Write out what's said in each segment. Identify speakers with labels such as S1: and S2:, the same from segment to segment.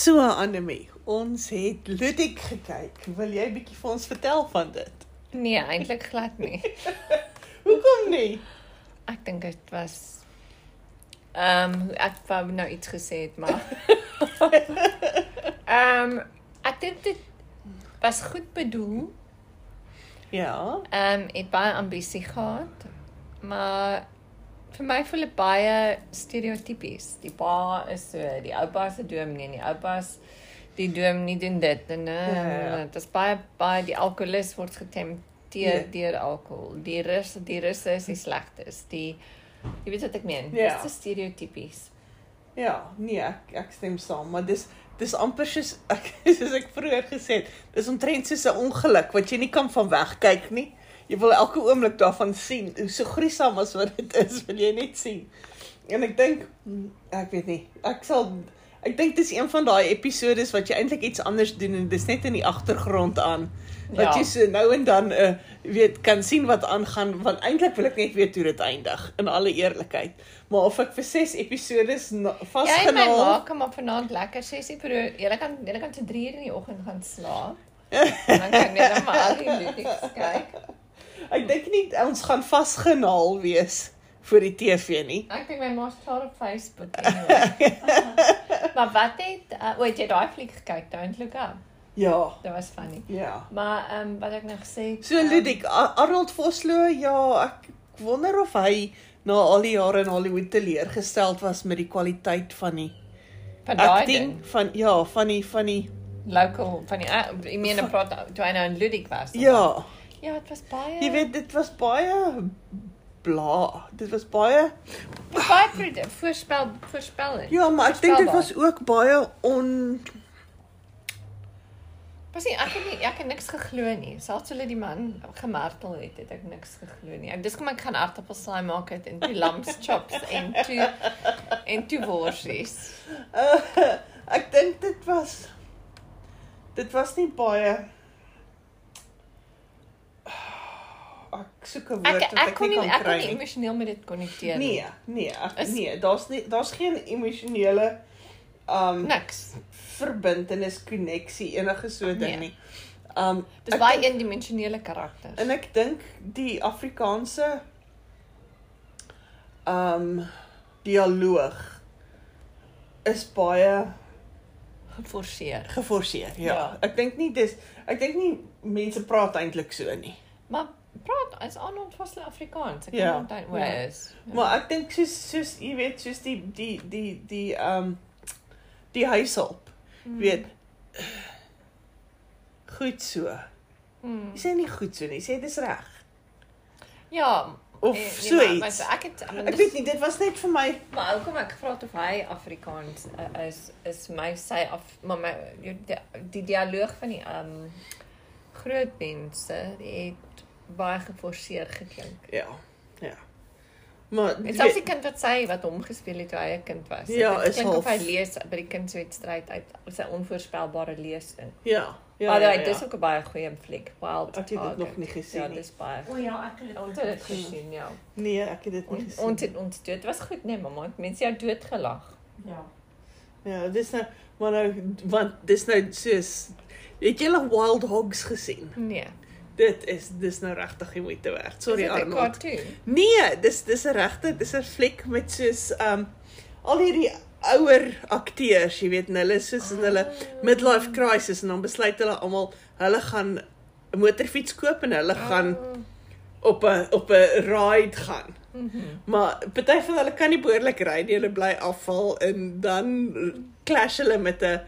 S1: So Anemie, ons het Ludik gekyk. Wil jy bietjie vir ons vertel van dit?
S2: Nee, eintlik glad nie.
S1: Hoekom nie?
S2: Ek dink dit was ehm um, ek wou nou iets gesê het, maar ehm um, ek dink dit was goed bedoel.
S1: Ja.
S2: Ehm um, het baie ambisie gehad, maar vir my voel dit baie stereotipies. Die pa is so, die oupa is 'n dominee en die oupa is die dominee doen dit en eh,
S1: Ja, ja, ja.
S2: dit is baie baie die alkoholist word getempteer
S1: Ja.
S2: deur alkohol. Die rus, die rus is die slegstes. Die jy weet wat ek meen.
S1: Ja.
S2: Dis te stereotipies.
S1: Ja, nee, ek, ek stem saam, maar dis dis amper soos ek soos ek vroeër gesê het, dis omtrent soos 'n ongeluk wat jy nie kan van wegkyk nie. Jy wil elke oomblik daarvan sien. Hoe so gruisam as wat dit is, wil jy net sien. En ek dink hmm, ek weet nie. Ek sal ek dink dis een van daai episodes wat jy eintlik iets anders doen en dis net in die agtergrond aan. Wat
S2: Ja.
S1: jy so nou en dan 'n uh, weet kan sien wat aangaan want eintlik wil ek net weet hoe dit eindig in alle eerlikheid. Maar of ek vir 6 episodes na-
S2: Jy en my
S1: vasgenaal
S2: ma kan maar vanaand lekker sessie pro. Jy kan jy kan te 3 uur in die oggend gaan slaap. En dan kan jy net maar al die liedjies kyk.
S1: Ek dink nie ons gaan vasgenaal wees vir die TV nie.
S2: Ek dink my ma's klaar op Facebook anyway. maar wat het uh, o, het jy daai fliek gekyk, Don't Look Up?
S1: Ja,
S2: Dit was funny.
S1: ja.
S2: Maar ehm um, wat ek nou gesê het.
S1: So
S2: ehm,
S1: Ludik, A- Arnold Vosloo, ja, ek wonder of hy na al die jare in Hollywood teleurgesteld was met die kwaliteit van die
S2: van daai ding,
S1: acting van ja, van die van die
S2: local van die uh, ek meen ek praat toe hy nou in Ludik was. of wat?
S1: ja,
S2: Ja, dit was baie.
S1: jy weet dit was baie bla, dit was baie
S2: dit was baie pred- voorspel voorspel.
S1: ja, maar ek dink dit was
S2: Voorspelbaar.
S1: ook baie on
S2: Was nie ek het nie ek het niks geglo nie. Selfs hulle die man gemartel het, het ek niks geglo nie. Ek dis kom ek gaan aartappelslaai maak het en toe lamps chops en toe en toe worsies.
S1: Uh, ek dink dit was dit was nie baie Ek soek 'n woord
S2: Ek
S1: wat
S2: ek kon nie
S1: nie
S2: ek
S1: kan
S2: kon nie
S1: kry nie.
S2: emosioneel met dit konnekteer nie.
S1: Nee, nee, ek,
S2: Is-
S1: nee, daar's nie daar's geen emosionele um
S2: Niks.
S1: verbintenis, konneksie, enige so ding
S2: Nee.
S1: nie. Um
S2: Dis
S1: ek
S2: baie
S1: dink-
S2: eendimensionele karakters.
S1: En ek dink die Afrikaanse um dialoog is baie
S2: geforseer.
S1: geforseer. Ja. ja.
S2: Ja.
S1: Ek dink nie dis ek dink nie mense praat eintlik so nie.
S2: Maar praat is Arnold was hulle Afrikaans. Ek
S1: Ja.
S2: kan onthou hoe hy
S1: Ja.
S2: is.
S1: Ja. Maar ek dink soos soos jy weet soos die die die die ehm um, die huishulp,
S2: Hmm.
S1: mm. weet goed so.
S2: Hmm.
S1: Jy sê nie goed so nie, jy sê dis reg.
S2: Ja,
S1: Of
S2: eh, nee,
S1: so
S2: maar-
S1: iets.
S2: Maar ek het ek,
S1: Ek weet nie, dit was net vir my
S2: Maar hoekom ek vra het of hy Afrikaans uh, is is my sy af maar my die, die dialoog van die um groot mense het baie geforseer geklink.
S1: ja. Ja. Maar
S2: Dit selfs die kind wat sy wat hom gespeel het toe hy 'n kind was.
S1: Ja,
S2: dit
S1: is
S2: klink of hy
S1: half-
S2: lees by die kindswedstryd uit sy onvoorspelbare lees in.
S1: ja. Ja.
S2: Maar
S1: ja,
S2: dit
S1: ja.
S2: is ook 'n baie goeie fliek. Wild
S1: Ek het dit
S2: Target.
S1: nog nie gesien
S2: Ja,
S1: nie.
S2: dis baie.
S3: O ja, ek het dit
S2: Ons
S3: ook
S2: het dit
S3: gesien.
S2: gesien, ja.
S1: nee, ek het dit nie
S2: Ons
S1: gesien.
S2: ons het ons dood. Dit was goed, nee, mamma. Het Mense jou dood gelag.
S3: Ja.
S1: Ja, dis nou maar nou want dis nou soos het jy al Wild Hogs gesien?
S2: Nee.
S1: Dit is dis nou regtig die moeite werd. Sorry
S2: Is dit 'n
S1: Arnold.
S2: Cartoon.
S1: Nee, dis dis 'n regte, dis 'n fliek met soos um al hierdie ouer akteurs, jy weet, en hulle is soos in hulle midlife crisis en dan besluit hulle almal hulle gaan 'n motorfiets koop en hulle gaan op 'n op 'n ride gaan.
S2: Mhm.
S1: Maar party van hulle kan nie behoorlik ry nie. Hulle bly afval en dan clash hulle met 'n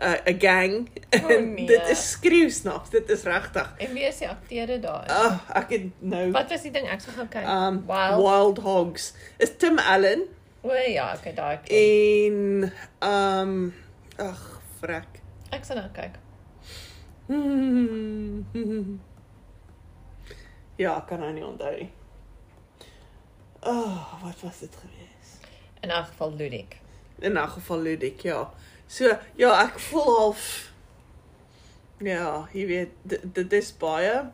S1: 'n 'n gang.
S2: O,
S1: En
S2: nee.
S1: Dit is skreeusnaps. Dit is regtig.
S2: En wie is die akteure daar?
S1: Ag, oh, ek het nou
S2: Wat was die ding ek sou gaan kyk?
S1: um Wild,
S2: Wild.
S1: Wild Hogs. Is Tim Allen
S2: O ja, okay, daai. klink.
S1: en um ag, frek.
S2: Ek sal nou kyk.
S1: Hmm. Ja, ek kan nou nie onthou nie. Ag, oh, wat was dit geweest?
S2: In elk geval Ludik.
S1: In 'n geval Ludik, ja. So ja, ek voel half ja, jy weet dit, dit is baie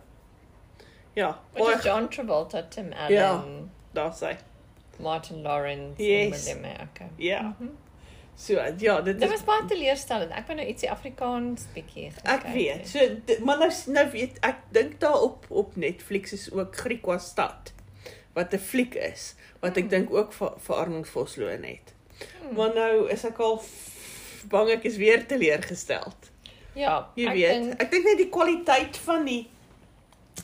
S1: Ja,
S2: Wat
S1: baie
S2: is John Travolta, Tim Allen,
S1: daar sê.
S2: Martin Lawrence en
S1: Yes.
S2: William Merke.
S1: Ja.
S2: Mhm.
S1: So ja, dit
S2: Dit
S1: is
S2: was baie teleurstellend. Ek wou nou ietsie Afrikaans bietjie
S1: ek
S2: gekyk
S1: weet.
S2: het.
S1: So di- maar nou s- nou weet ek dink daar op op Netflix is ook Griek was stad wat 'n fliek is wat ek dink ook vir vir Arnold Vosloo net.
S2: Hmm.
S1: Maar nou is ek al f- bang ek is weer teleurgesteld.
S2: Ja,
S1: Jy
S2: ek
S1: ek weet,
S2: dink-
S1: ek dink net die kwaliteit van die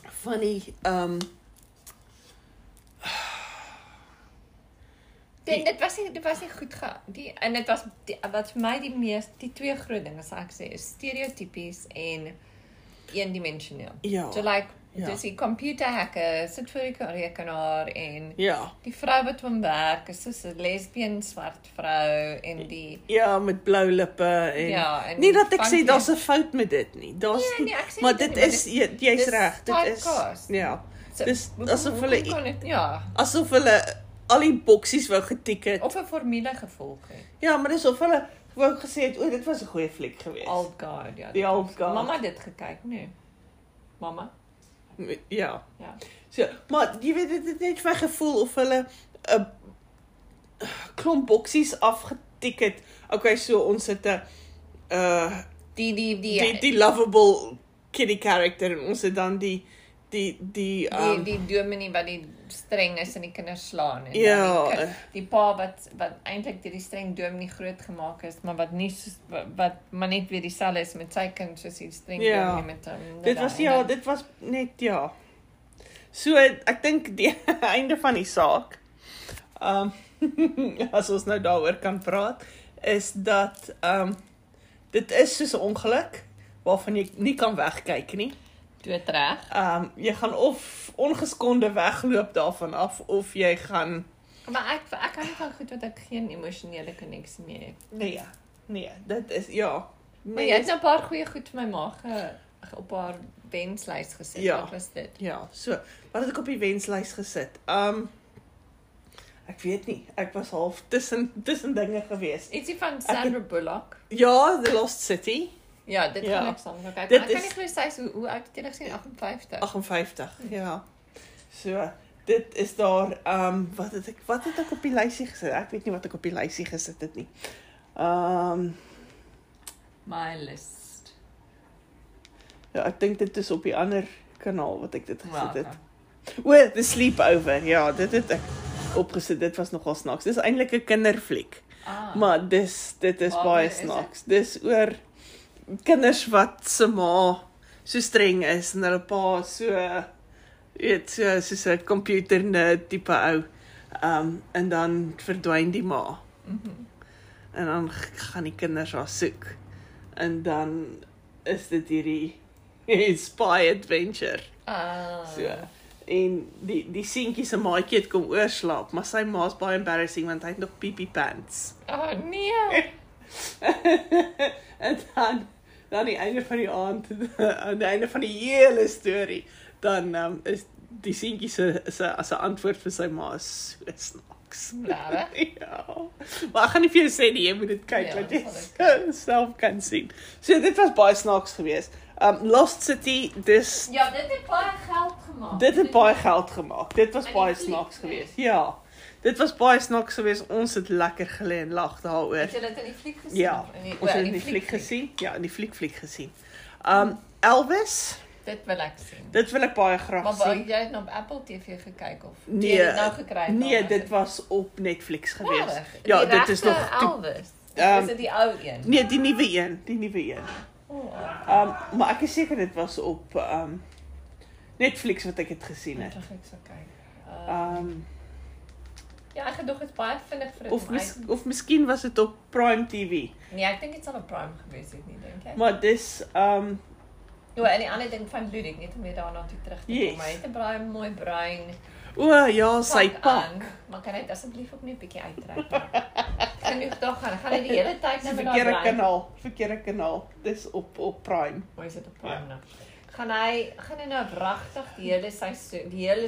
S1: van die ehm um,
S2: Dit dit was nie dit was nie goed ge die en dit was die, wat vir my die mees die twee groot dinge sal ek sê is stereotypies en eendimensioneel.
S1: ja.
S2: So like
S1: Ja.
S2: ja. dis die computer hacker sit voor die rekenaar en
S1: Ja.
S2: die vrou wat hom werk is soos 'n lesbien swart vrou en die
S1: Ja, met blou lippe en
S2: ja en
S1: nie dat ek
S2: funky-
S1: sê daar's 'n fout met dit nie. Daar's
S2: Nee, nee, ek sê nie
S1: maar
S2: dit
S1: dit
S2: nie, maar
S1: is jy- jy's
S2: dis
S1: reg, dit is
S2: typecast.
S1: ja,
S2: so,
S1: dis
S2: hoekom-
S1: asof hulle-
S2: hoekom kon dit ja
S1: asof hulle al die boksies wou getik het.
S2: of 'n formule gevolg het.
S1: Ja, maar dis of hulle wou gesê het, o, dit was 'n goeie fliek geweest.
S2: Old God ja.
S1: Die
S2: dit was-
S1: Old Guard.
S2: Mamma het dit gekyk nee. Mamma.
S1: Ja.
S2: Ja.
S1: So, maar jy weet dit het net my gevoel of hulle 'n klomp boksies afgetik het. Okay, so ons het 'n uh
S2: Die die die
S1: die die lovable kitty character en ons het dan die die die
S2: die
S1: um,
S2: die dominee wat die streng is en die kinders slaan en dan
S1: Ja, eh.
S2: die, kind, die pa wat wat eintlik deur die streng dominee groot gemaak is maar wat nie soos, wa- wat maar net weer dieselfde is met sy kind soos die streng
S1: Ja.
S2: dominee met hom
S1: dit was ja, dit was net ja. So ek dink die einde van die saak. Um as ons nou daaroor kan praat is dat um dit is soos 'n ongeluk waarvan jy nie kan wegkyk nie.
S2: toe reg
S1: Um jy gaan of ongeskonde wegloop daarvan af of jy gaan
S2: maar ek ek kan nie van goed wat ek geen emosionele koneksie mee het
S1: nee, nee, dit is ja.
S2: maar jy het nou 'n paar goeie goed vir my ma ge, ge- op haar wenslys gesit
S1: Ja.
S2: wat was dit
S1: Ja, so, wat het ek op die wenslys gesit? Um ek weet nie, ek was half tussen tussen dinge gewees.
S2: ietsie van Sandra Bullock
S1: Ja, The Lost City,
S2: ja dit
S1: Ja.
S2: gaan ek saam kyk maar
S1: Dit
S2: ek kan
S1: is-
S2: nie glo sy is hoe hoe oud het jy gesien 58
S1: 58. Ja. So, dit is daar um wat het ek wat het ek op die lysie gesit? Ek weet nie wat ek op die lysie gesit het nie. Um
S2: my list
S1: ja, ek dink dit is op die ander kanaal wat ek dit
S2: Wel,
S1: gesit het.
S2: okay.
S1: O, The Sleepover. Ja, dit het ek opgesit. Dit was nogal snaaks. Dis eintlik 'n kinderfliek.
S2: Ah.
S1: Maar dis dit is
S2: Waaroor
S1: baie
S2: is dit?
S1: snaaks. Dis oor kinders wat se ma so streng is en hulle pa so weet so soos 'n computer nerd tipe ou. Um en dan verdwyn die ma.
S2: Mhm.
S1: En dan g- gaan die kinders haar soek. En dan is dit hierdie spy adventure.
S2: Ah.
S1: So en die die seentjie se maatjie het kom oorslaap, maar sy ma's baie embarrassing want hy het nog piepie pants.
S2: Oh nee.
S1: en dan dan die einde van die aand aan die einde van die hele storie dan um, is die seentjie se se as 'n antwoord vir sy ma is so snaaks.
S2: Regtig?
S1: ja. Maar ek gaan nie vir jou sê nie, jy moet dit kyk
S2: Ja,
S1: ja, dat
S2: dit
S1: jy
S2: sal
S1: self kan sien. So dit was baie snaaks geweest. Um Lost City dis
S2: Ja, dit het baie geld gemaak.
S1: Dit het baie geld gemaak. Dit was
S2: En die
S1: baie
S2: fliek,
S1: snaaks
S2: nee.
S1: geweest. Ja. Dit was baie snaaks geweest. Ons het lekker gelê en lag daaroor.
S2: Het jy dit in die fliek gesien?
S1: Ja,
S2: In die,
S1: ons het
S2: o,
S1: in die fliek gesien. Ja, in die fliek fliek gesien. Um Elvis,
S2: Dit wil ek sien.
S1: dit wil ek baie graag
S2: Maar wou
S1: sien.
S2: jy het nou op Apple TV gekyk of
S1: Nee,
S2: jy het dit nou gekry?
S1: Nee, dit was op Netflix gewees.
S2: Regtig?
S1: Ja,
S2: Die
S1: dit is
S2: regte
S1: nog toe-
S2: Elvis.
S1: Ehm,
S2: Dis dit die ou een.
S1: Nee, die nuwe een, die nuwe een.
S2: Oh,
S1: Um maar ek is seker dit was op um Netflix wat ek dit gesien
S2: net
S1: het.
S2: ek sou kyk. Uh,
S1: Um
S2: ja, ek gedog dit baie vinnig vir dit
S1: of
S2: om uit-
S1: mis, of miskien was dit op Prime TV.
S2: Nee, ek dink dit sal op Prime gewees het nie, dink ek.
S1: Maar dis um
S2: Ja, en die ander ding van Ludwig net om weer daarna toe terug te
S1: Yes.
S2: kom. Hy het 'n baie mooi brein.
S1: o ja, sy pa.
S2: aan, maar kan hy dit asseblief ook net 'n bietjie uittrek? Genoeg daar gaan. Gaan hy die hele tyd
S1: Dis
S2: net met
S1: verkeerde
S2: daai brein.
S1: kanaal, verkeerde kanaal. Dis op op Prime.
S2: Hoe is dit op hom nou? Gaan hy gaan hy nou wragtig die hele seisoen, die hele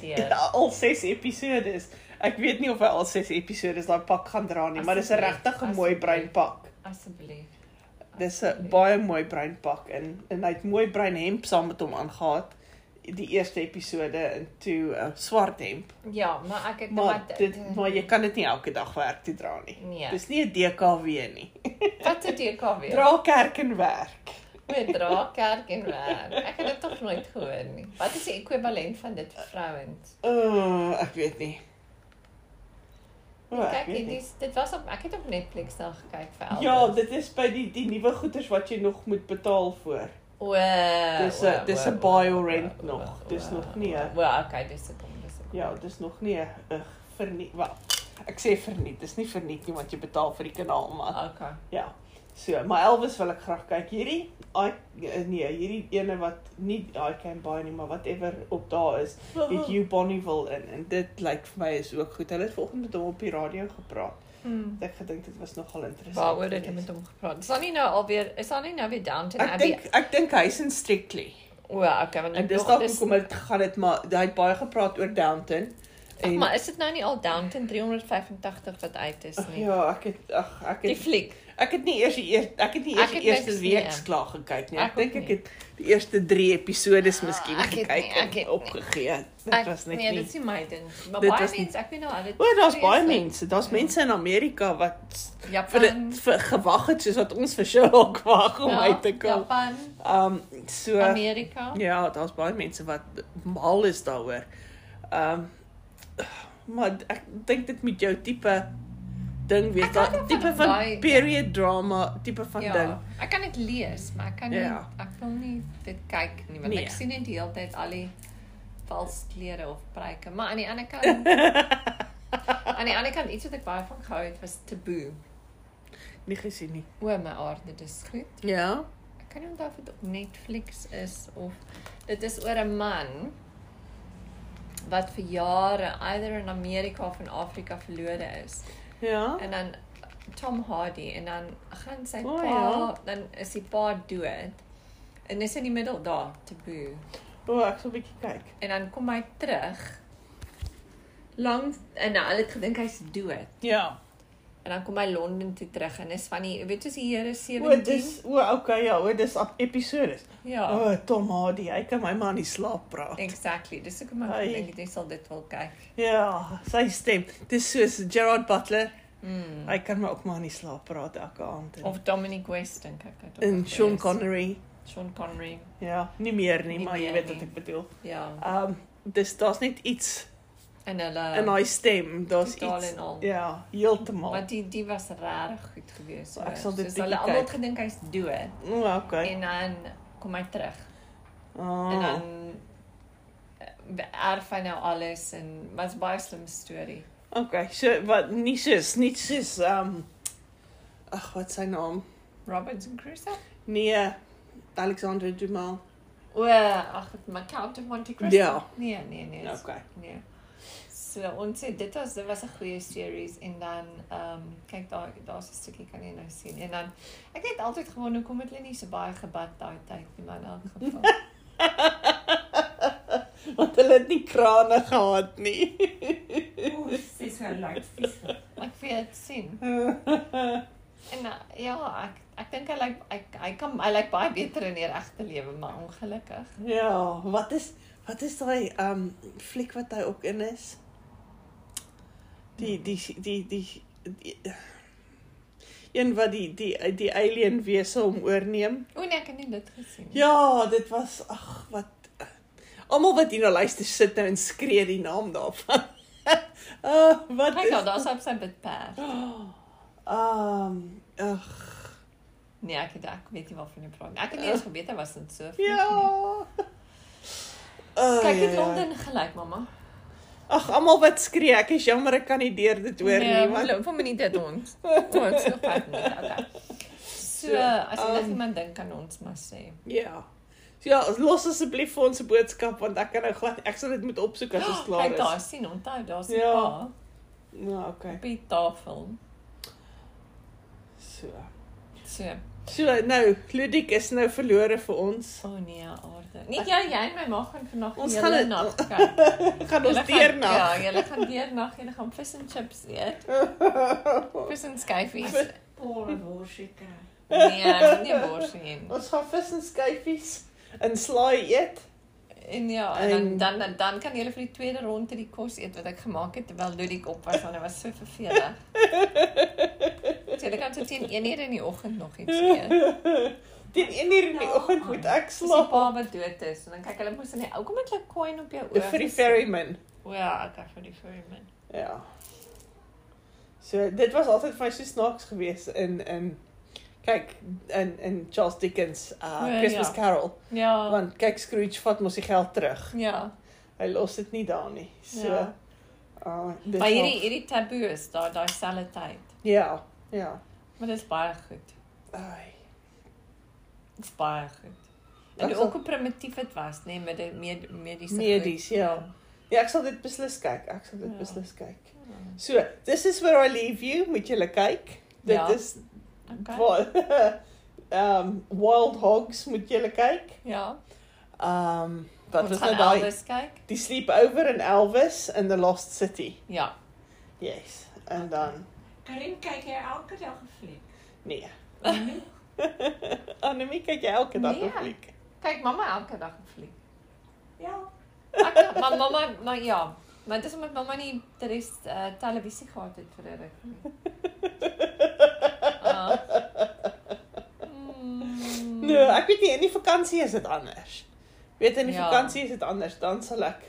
S1: Die ja,
S2: deur.
S1: al 6 episodes. Ek weet nie of hy al 6 episodes daai pak gaan dra nie, maar dis 'n
S2: Asseblief,
S1: regtig 'n mooi
S2: asseblief.
S1: breinpak.
S2: Asseblief.
S1: Dis 'n
S2: Asseblief.
S1: baie mooi breinpak en en hy het mooi breinhemp saam met hom aangetree die eerste episode en toe uh, Swarthemp.
S2: Ja, maar ek eh, het
S1: Maar dit maar jy kan dit nie elke dag werk toe dra nie.
S2: Nee.
S1: Dis nie 'n DKW nie.
S2: wat het jy kan weer?
S1: Dra kerk en werk.
S2: Met dra kerk en werk. Ek het dit tog nooit gehoor nie. Wat is die ekwivalent van dit vir vrouens?
S1: Uh, ek weet nie. O, ek
S2: Kyk,
S1: weet
S2: dit
S1: nie.
S2: is, dit was op ek het op Netflix daar gekyk vir Elvis.
S1: Ja, dit is by die die nuwe goeders wat jy nog moet betaal voor.
S2: O.
S1: Dis 'n-
S2: o,
S1: dis 'n
S2: o,
S1: baie
S2: o,
S1: rent
S2: o,
S1: nog.
S2: o,
S1: Dis
S2: o,
S1: nog nie,
S2: o.
S1: hè?
S2: Wel, okay, dis dit kom dis. dit.
S1: Ja, dis nog nie 'n uh, verniet wel. Ek sê verniet, dis nie verniet nie want jy betaal vir die kanaal maar.
S2: Okay.
S1: Ja. So, maar Elvis wil ek graag kyk. Hierdie I nee, hierdie ene wat nie I can buy nie, maar whatever op daar is,
S2: Oh.
S1: het Hugh Bonneville in en dit lyk vir my is ook goed. Hulle het vanoggend met hom op die radio gepraat.
S2: Hmm.
S1: Ek gedink dit was nogal interessant.
S2: Waaroor het jy
S1: geweest.
S2: met hom gepraat? Is daar nie nou alweer is daar nie nou weer Downton
S1: Ek
S2: Abbey?
S1: dink ek dink hy's in Strictly.
S2: O, okay, want
S1: En
S2: ek
S1: dis
S2: dog
S1: dalk
S2: dis-
S1: hoekom dit gaan dit maar hy het baie gepraat oor Downton.
S2: Ag, maar is dit nou nie al Downton 385 wat uit is
S1: ag
S2: nie?
S1: ja, ek het ag ek
S2: Die
S1: het
S2: fliek.
S1: Ek het nie eers die eers ek het nie
S2: Ek
S1: eers die
S2: het
S1: eerste
S2: niks nie,
S1: week
S2: ja.
S1: klaar gekyk nie.
S2: Ek
S1: Ek dink
S2: ook
S1: ek het die eerste 3 episodes miskien
S2: Ah, ek het
S1: gekyk
S2: nie,
S1: en
S2: ek het nie.
S1: opgegee. Dit was net
S2: nee,
S1: nie.
S2: dit is nie my ding. Maar
S1: Dit
S2: baie
S1: was nie-
S2: mense, ek weet nou al dit.
S1: O, daar's baie
S2: vreeslik. Ja.
S1: mense. Daar's mense in Amerika wat vir
S2: Japan.
S1: dit vir gewag het soos wat ons vir Sherlock wag om
S2: Ehm. ja,
S1: uit te kom.
S2: Japan,
S1: Ehm so
S2: Amerika.
S1: ja, daar's baie mense wat mal is daaroor. Ehm maar ek dink dit met jou tipe ding weet
S2: Ek hou
S1: daai
S2: daarvan
S1: tipe
S2: om
S1: van
S2: daai-
S1: period drama tipe van
S2: ja,
S1: ding.
S2: ek kan dit lees, maar ek kan nie
S1: Ja.
S2: ek wil nie dit kyk nie want
S1: Nee.
S2: ek sien net die hele tyd al die vals klere of pryke. Maar aan die ander kant aan die ander kant iets wat ek baie van gehou het was taboe.
S1: Nie gesien nie.
S2: O my aarde, dis goed.
S1: Ja.
S2: Ek kan nie onthou of dit op Netflix is of dit is oor 'n man wat vir jare either in Amerika of in Afrika verlore is.
S1: Ja.
S2: En dan Tom Hardy en dan gaan sy
S1: O,
S2: pa,
S1: ja.
S2: dan is die pa dood. En dis in die middel daar, taboe.
S1: O, ek sal 'n bietjie kyk.
S2: En dan kom hy terug. Lank en nou, hulle het gedink hy's dood.
S1: Ja.
S2: En dan kom hy Londen toe terug en is van die weet jy as die Here
S1: O,
S2: 17.
S1: dis o, okay, ja, o, dis op episodes.
S2: ja.
S1: O, oh, Tom Hardy, hy kan my man nie slaap praat.
S2: Exactly. Dis ek maar
S1: Ai.
S2: dink jy sal dit wil kyk.
S1: Ja, sy stem. Dis soos Gerard Butler.
S2: Mm.
S1: Hy kan my ook maar nie slaap praat elke aand en,
S2: Of Dominic West dink ek het. ook
S1: en
S2: nog
S1: Sean
S2: gelees.
S1: Connery.
S2: Sean Connery.
S1: Ja, nie meer nie,
S2: Nie
S1: maar jy
S2: meer
S1: weet
S2: nie.
S1: wat ek bedoel.
S2: Ja.
S1: Ehm um, dis daar's net iets
S2: En hulle
S1: in haar stem, daar's
S2: Ja. totaal
S1: iets.
S2: en al.
S1: Ja, heeltemal.
S2: Maar die die was regtig goed gewees.
S1: Ek sal dit
S2: soos
S1: bietjie
S2: hulle almal
S1: kyk.
S2: gedink hy's dood
S1: O, okay.
S2: en dan kom hy terug. Ja. En
S1: Ah.
S2: dan eh, erf hy nou alles en was baie slim storie.
S1: Okay, so wat nie soos nie soos ehm um, ag, wat is sy naam?
S2: Robinson Crusoe?
S1: Nee, Alexandre Dumas.
S2: O, ag, my Count of Monte Cristo.
S1: Ja.
S2: Nee, nee, nee. dis-
S1: Okay.
S2: Nee. So ons het dit was dit was 'n goeie series en dan ehm um, kyk daar daar's 'n stukkie kan jy nou sien en dan ek het altyd gewonder hoekom het hulle nie so baie gebad daai tyd nie maar in elk geval.
S1: Want hulle het nie krane gehad nie.
S3: Oeh, dis wel lekker vies.
S2: Ek wil dit sien. En uh, ja, ek ek dink hy lyk hy hy kan hy lyk baie beter in die regte lewe maar ongelukkig.
S1: ja, wat is wat is daai ehm um, fliek wat hy ook in is? Die die die die, die een wat die die die alien wese hom oorneem.
S2: O nee, ek het nie dit gesien nie.
S1: Ja, dit was ag wat eh, almal wat hier nou luister sit nou en skree die naam daarvan. Ah, uh, wat
S2: Kyk
S1: is
S2: daar, Oh daar's op sy bed perd.
S1: Ehm ag
S2: Nee, ek het ek weet nie waarvan jy praat nie. Ek het nie eens geweet hy was in so 'n fliek
S1: ja.
S2: nie.
S1: Oh,
S2: Kyk dit Londen gelyk, mamma.
S1: Ag, almal wat skree, ek is jammer ek kan nie deur dit hoor nie,
S2: want
S1: want
S2: Ja, loop vir minute dit ons. Ons nog pad nie. Okay. So, as jy
S1: ehm,
S2: um, iemand dink kan ons maar sê.
S1: ja. So ja, los asseblief vir ons 'n boodskap want ek kan nou glad ek sal dit moet opsoek as ons klaar
S2: Kyk daar
S1: is.
S2: sien onthou, daar's 'n
S1: Ja.
S2: ja.
S1: Ja,
S2: pa
S1: okay.
S2: op die tafel.
S1: So.
S2: So,
S1: So nou, Ludik is nou verlore vir ons.
S2: o oh nee, aarde. Nee, jy jy en my ma gaan vanoggend
S1: Ons
S2: die
S1: gaan
S2: hele
S1: dit-
S2: nag kyk.
S1: Gaan
S2: Julle
S1: ons deur
S2: Ja,
S1: na.
S2: julle gaan deernag, julle gaan vis en chips eet. Vis en skyfies.
S3: Paul worsie kry.
S2: Nee, ek wil nie bors hê nie.
S1: Ons gaan vis en skyfies en slaai eet
S2: En ja, en dan dan dan, dan kan jy vir die tweede ronde die kos eet wat ek gemaak het terwyl Ludik op was want dit was so vervelig. So jy kan tot teen 1:00 in die oggend nog iets eet.
S1: Teen 1 uur in die oggend moet ek
S2: Ja. Dis die
S1: slaap.
S2: pa wat dood is en dan kyk hulle mos in die ou kom met hulle coin op jou
S1: Die
S2: oog.
S1: free ferryman.
S2: O ja, ek het vir die ferryman.
S1: Ja. So dit was altyd vir my so snaaks geweest in in kyk in in Charles Dickens uh
S2: Ja,
S1: Christmas
S2: ja.
S1: Carol
S2: Ja.
S1: want kyk Scrooge vat mos die geld terug.
S2: Ja.
S1: Hy los dit nie daar nie. So
S2: Ja.
S1: uh dit
S2: Maar hierdie
S1: maak-
S2: hierdie taboe is daar daai selfe tyd.
S1: ja, ja.
S2: Maar dit is baie goed.
S1: Ai.
S2: Dit is baie goed. En
S1: Ek
S2: ook
S1: sal-
S2: hoe primitief dit was, nê, nee, met die med, mediese
S1: Medies,
S2: goed.
S1: ja. Ja, ek sal dit beslis kyk. Ek sal dit
S2: Ja.
S1: ja. beslis kyk.
S2: Ja.
S1: So, this is where I leave you. Moet julle kyk. Dit
S2: Ja.
S1: ja. is
S2: Okay.
S1: Wa- Ehm Wild Hogs moet jy kyk.
S2: Ja.
S1: Ehm wat was nou
S2: gaan
S1: daai?
S2: Elvis kyk?
S1: Die Sleepover in Elvis in the Lost City.
S2: Ja.
S1: Yes. En dan
S3: Karin kyk jy elke dag 'n fliek.
S1: nee.
S3: Nee,
S1: Annemie kyk jy elke dag
S2: Nee.
S1: op fliek.
S2: Kyk, mamma elke dag 'n fliek.
S3: Ja,
S2: Ek maar mamma, maar ja, maar dit is omdat mamma nie die res uh, televisie gehad het vir 'n ruk nie. Ah. Mm.
S1: Nee, ek weet nie in die vakansie is dit anders. Weet in die
S2: Ja.
S1: ja. vakansie is dit anders, dan sal ek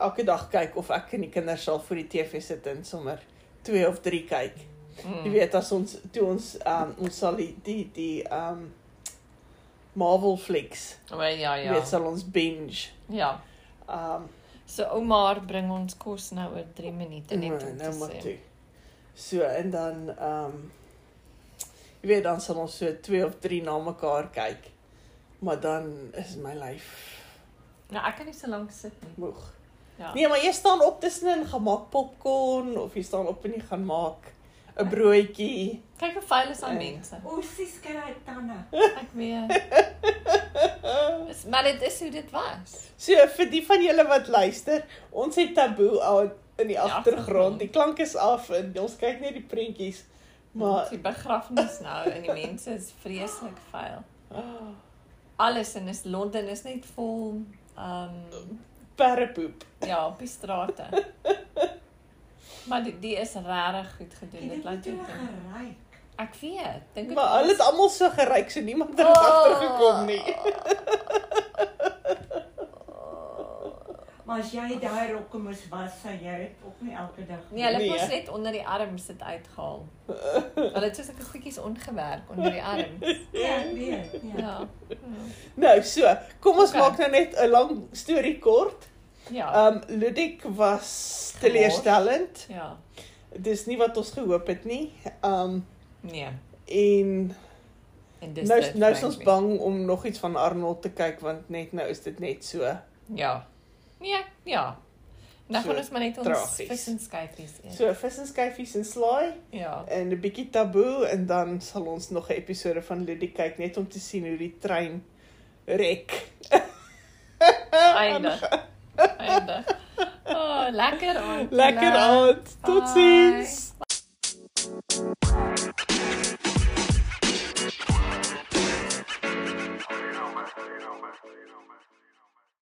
S1: elke dag kyk of ek en die kinders sal voor die TV sit en sommer 2 of 3 kyk. Jy
S2: Mm.
S1: weet as ons toe ons um, ons sal die die die um Marvel flicks
S2: Maar ja,
S1: ja. weet
S2: ja.
S1: sal ons binge.
S2: Ja.
S1: Um
S2: So Omar bring ons kos nou oor 3 minute net om te
S1: nou maar
S2: sê.
S1: toe. So en dan um jy weet dan sal ons so twee of drie na mekaar kyk. Maar dan is my lyf
S2: Nou ek kan nie so lank sit nie.
S1: moeg.
S2: Ja.
S1: Nee, maar jy staan op tussenin gaan maak popcorn of jy staan op en jy gaan maak 'n broodjie.
S2: Kyk hoe vuil is aan
S1: Nee.
S2: mense.
S3: o, sies kry hy tande.
S2: Ek weet. Dis- Maar dit is hoe dit was.
S1: So vir die van julle wat luister, ons het taboe al in
S2: Ja.
S1: die agtergrond. Die klank is af en ons kyk net die prentjies. Maar
S2: die begrafnis nou en die mense is vreeslik vuil. Ah.
S1: oh,
S2: alles en is Londen is net vol ehm um,
S1: perrepoep.
S2: ja, op die strate. Maar die, die is regtig goed gedoen.
S3: Dit
S2: Dit
S3: het
S2: laat
S3: net
S2: jou dink.
S3: gery.
S2: Ek Ah. weet, dink
S1: Maar hulle het almal so geryk, so niemand het oh. agtergekom nie.
S2: Oh,
S3: Maar as jy daai rokke moes was, sou jy dit ook nie elke dag.
S2: Nee, hulle het
S1: Nee.
S2: mos net onder die arms dit uitgehaal. Hulle het so sulke goedjies ongewerk onder die arms.
S3: ja, nee. Ja.
S2: Ja.
S1: Nou, so, kom ons
S2: Okay.
S1: okay. maak nou net 'n lang storie kort.
S2: Ja.
S1: Um Ludik was teleurstellend.
S2: Ja.
S1: Dis nie wat ons gehoop het nie. Um
S2: Nee.
S1: en
S2: En dis
S1: nou
S2: dit,
S1: nou is ons
S2: frankly.
S1: bang om nog iets van Arnold te kyk want net nou is dit net so.
S2: Ja. Nee, ja. Dan
S1: So
S2: gaan ons maar net ons
S1: tragies.
S2: vis en skyfies eet.
S1: So vis en skyfies en slaai
S2: Ja.
S1: en 'n bietjie taboe en dan sal ons nog 'n episode van Ludie kyk net om te sien hoe die trein rek.
S2: Eindig. Eindig. Oh, lekker aan.
S1: Lekker aand.
S2: Bye.
S1: Totsiens.